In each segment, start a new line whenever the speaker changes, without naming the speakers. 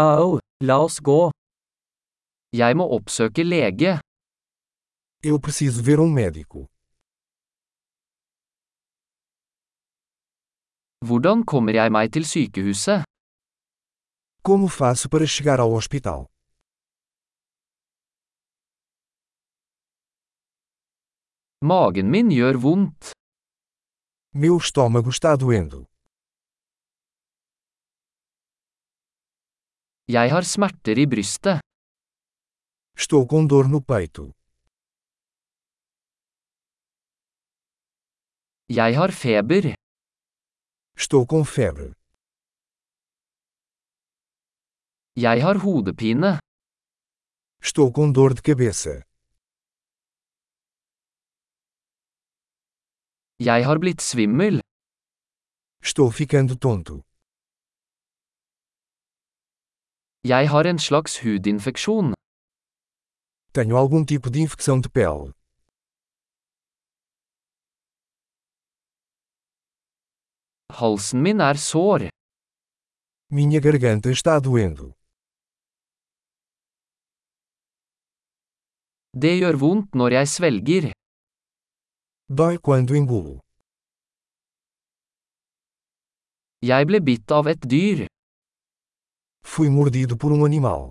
Au, la oss gå. Jeg må oppsøke lege.
Eu preciso ver um médico.
Hvordan kommer jeg meg til sykehuset?
Como faço para chegar ao hospital?
Magen min gjør vondt.
Meu estômago está doendo.
Jeg har smerter i brystet.
Estou com dor no peito.
Jeg har feber.
Estou com febre.
Jeg har hodepine.
Estou com dor de cabeça.
Jeg har blitt svimmel.
Estou ficando tonto.
Jeg har en slags hudinfeksjon.
Tenho algum tipo de infecção de pele.
Halsen min er sår.
Minha garganta está doendo.
Det gjør vondt når jeg svelger.
Dói quando engulo.
Jeg ble bitt av et dyr.
Fui mordido por um animal.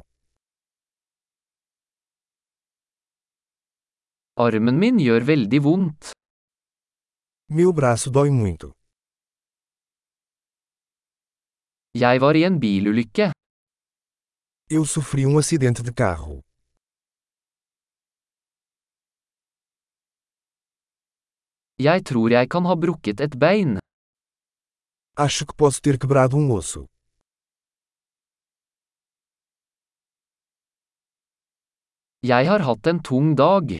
Armen min gjør veldig vondt.
Meu braço dói muito.
Jeg var i en bilulykke.
Eu sofri um acidente de carro.
Jeg tror jeg kan ha brukket et bein.
Acho que posso ter quebrado um osso.
Jeg har hatt en tung dag.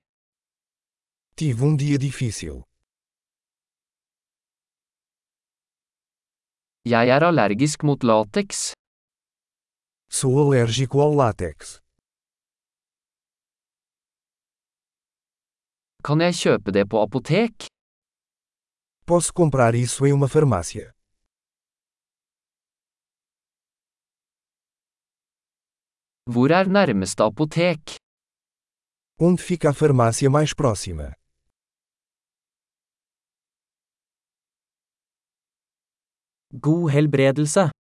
Tive um dia difícil.
Jeg er allergisk mot lateks.
Sou alérgico ao látex.
Kan jeg kjøpe det på apotek?
Posso comprar isso em uma farmácia.
Hvor er nærmeste apotek?
Onde fica a farmácia mais próxima?
God helbredelse.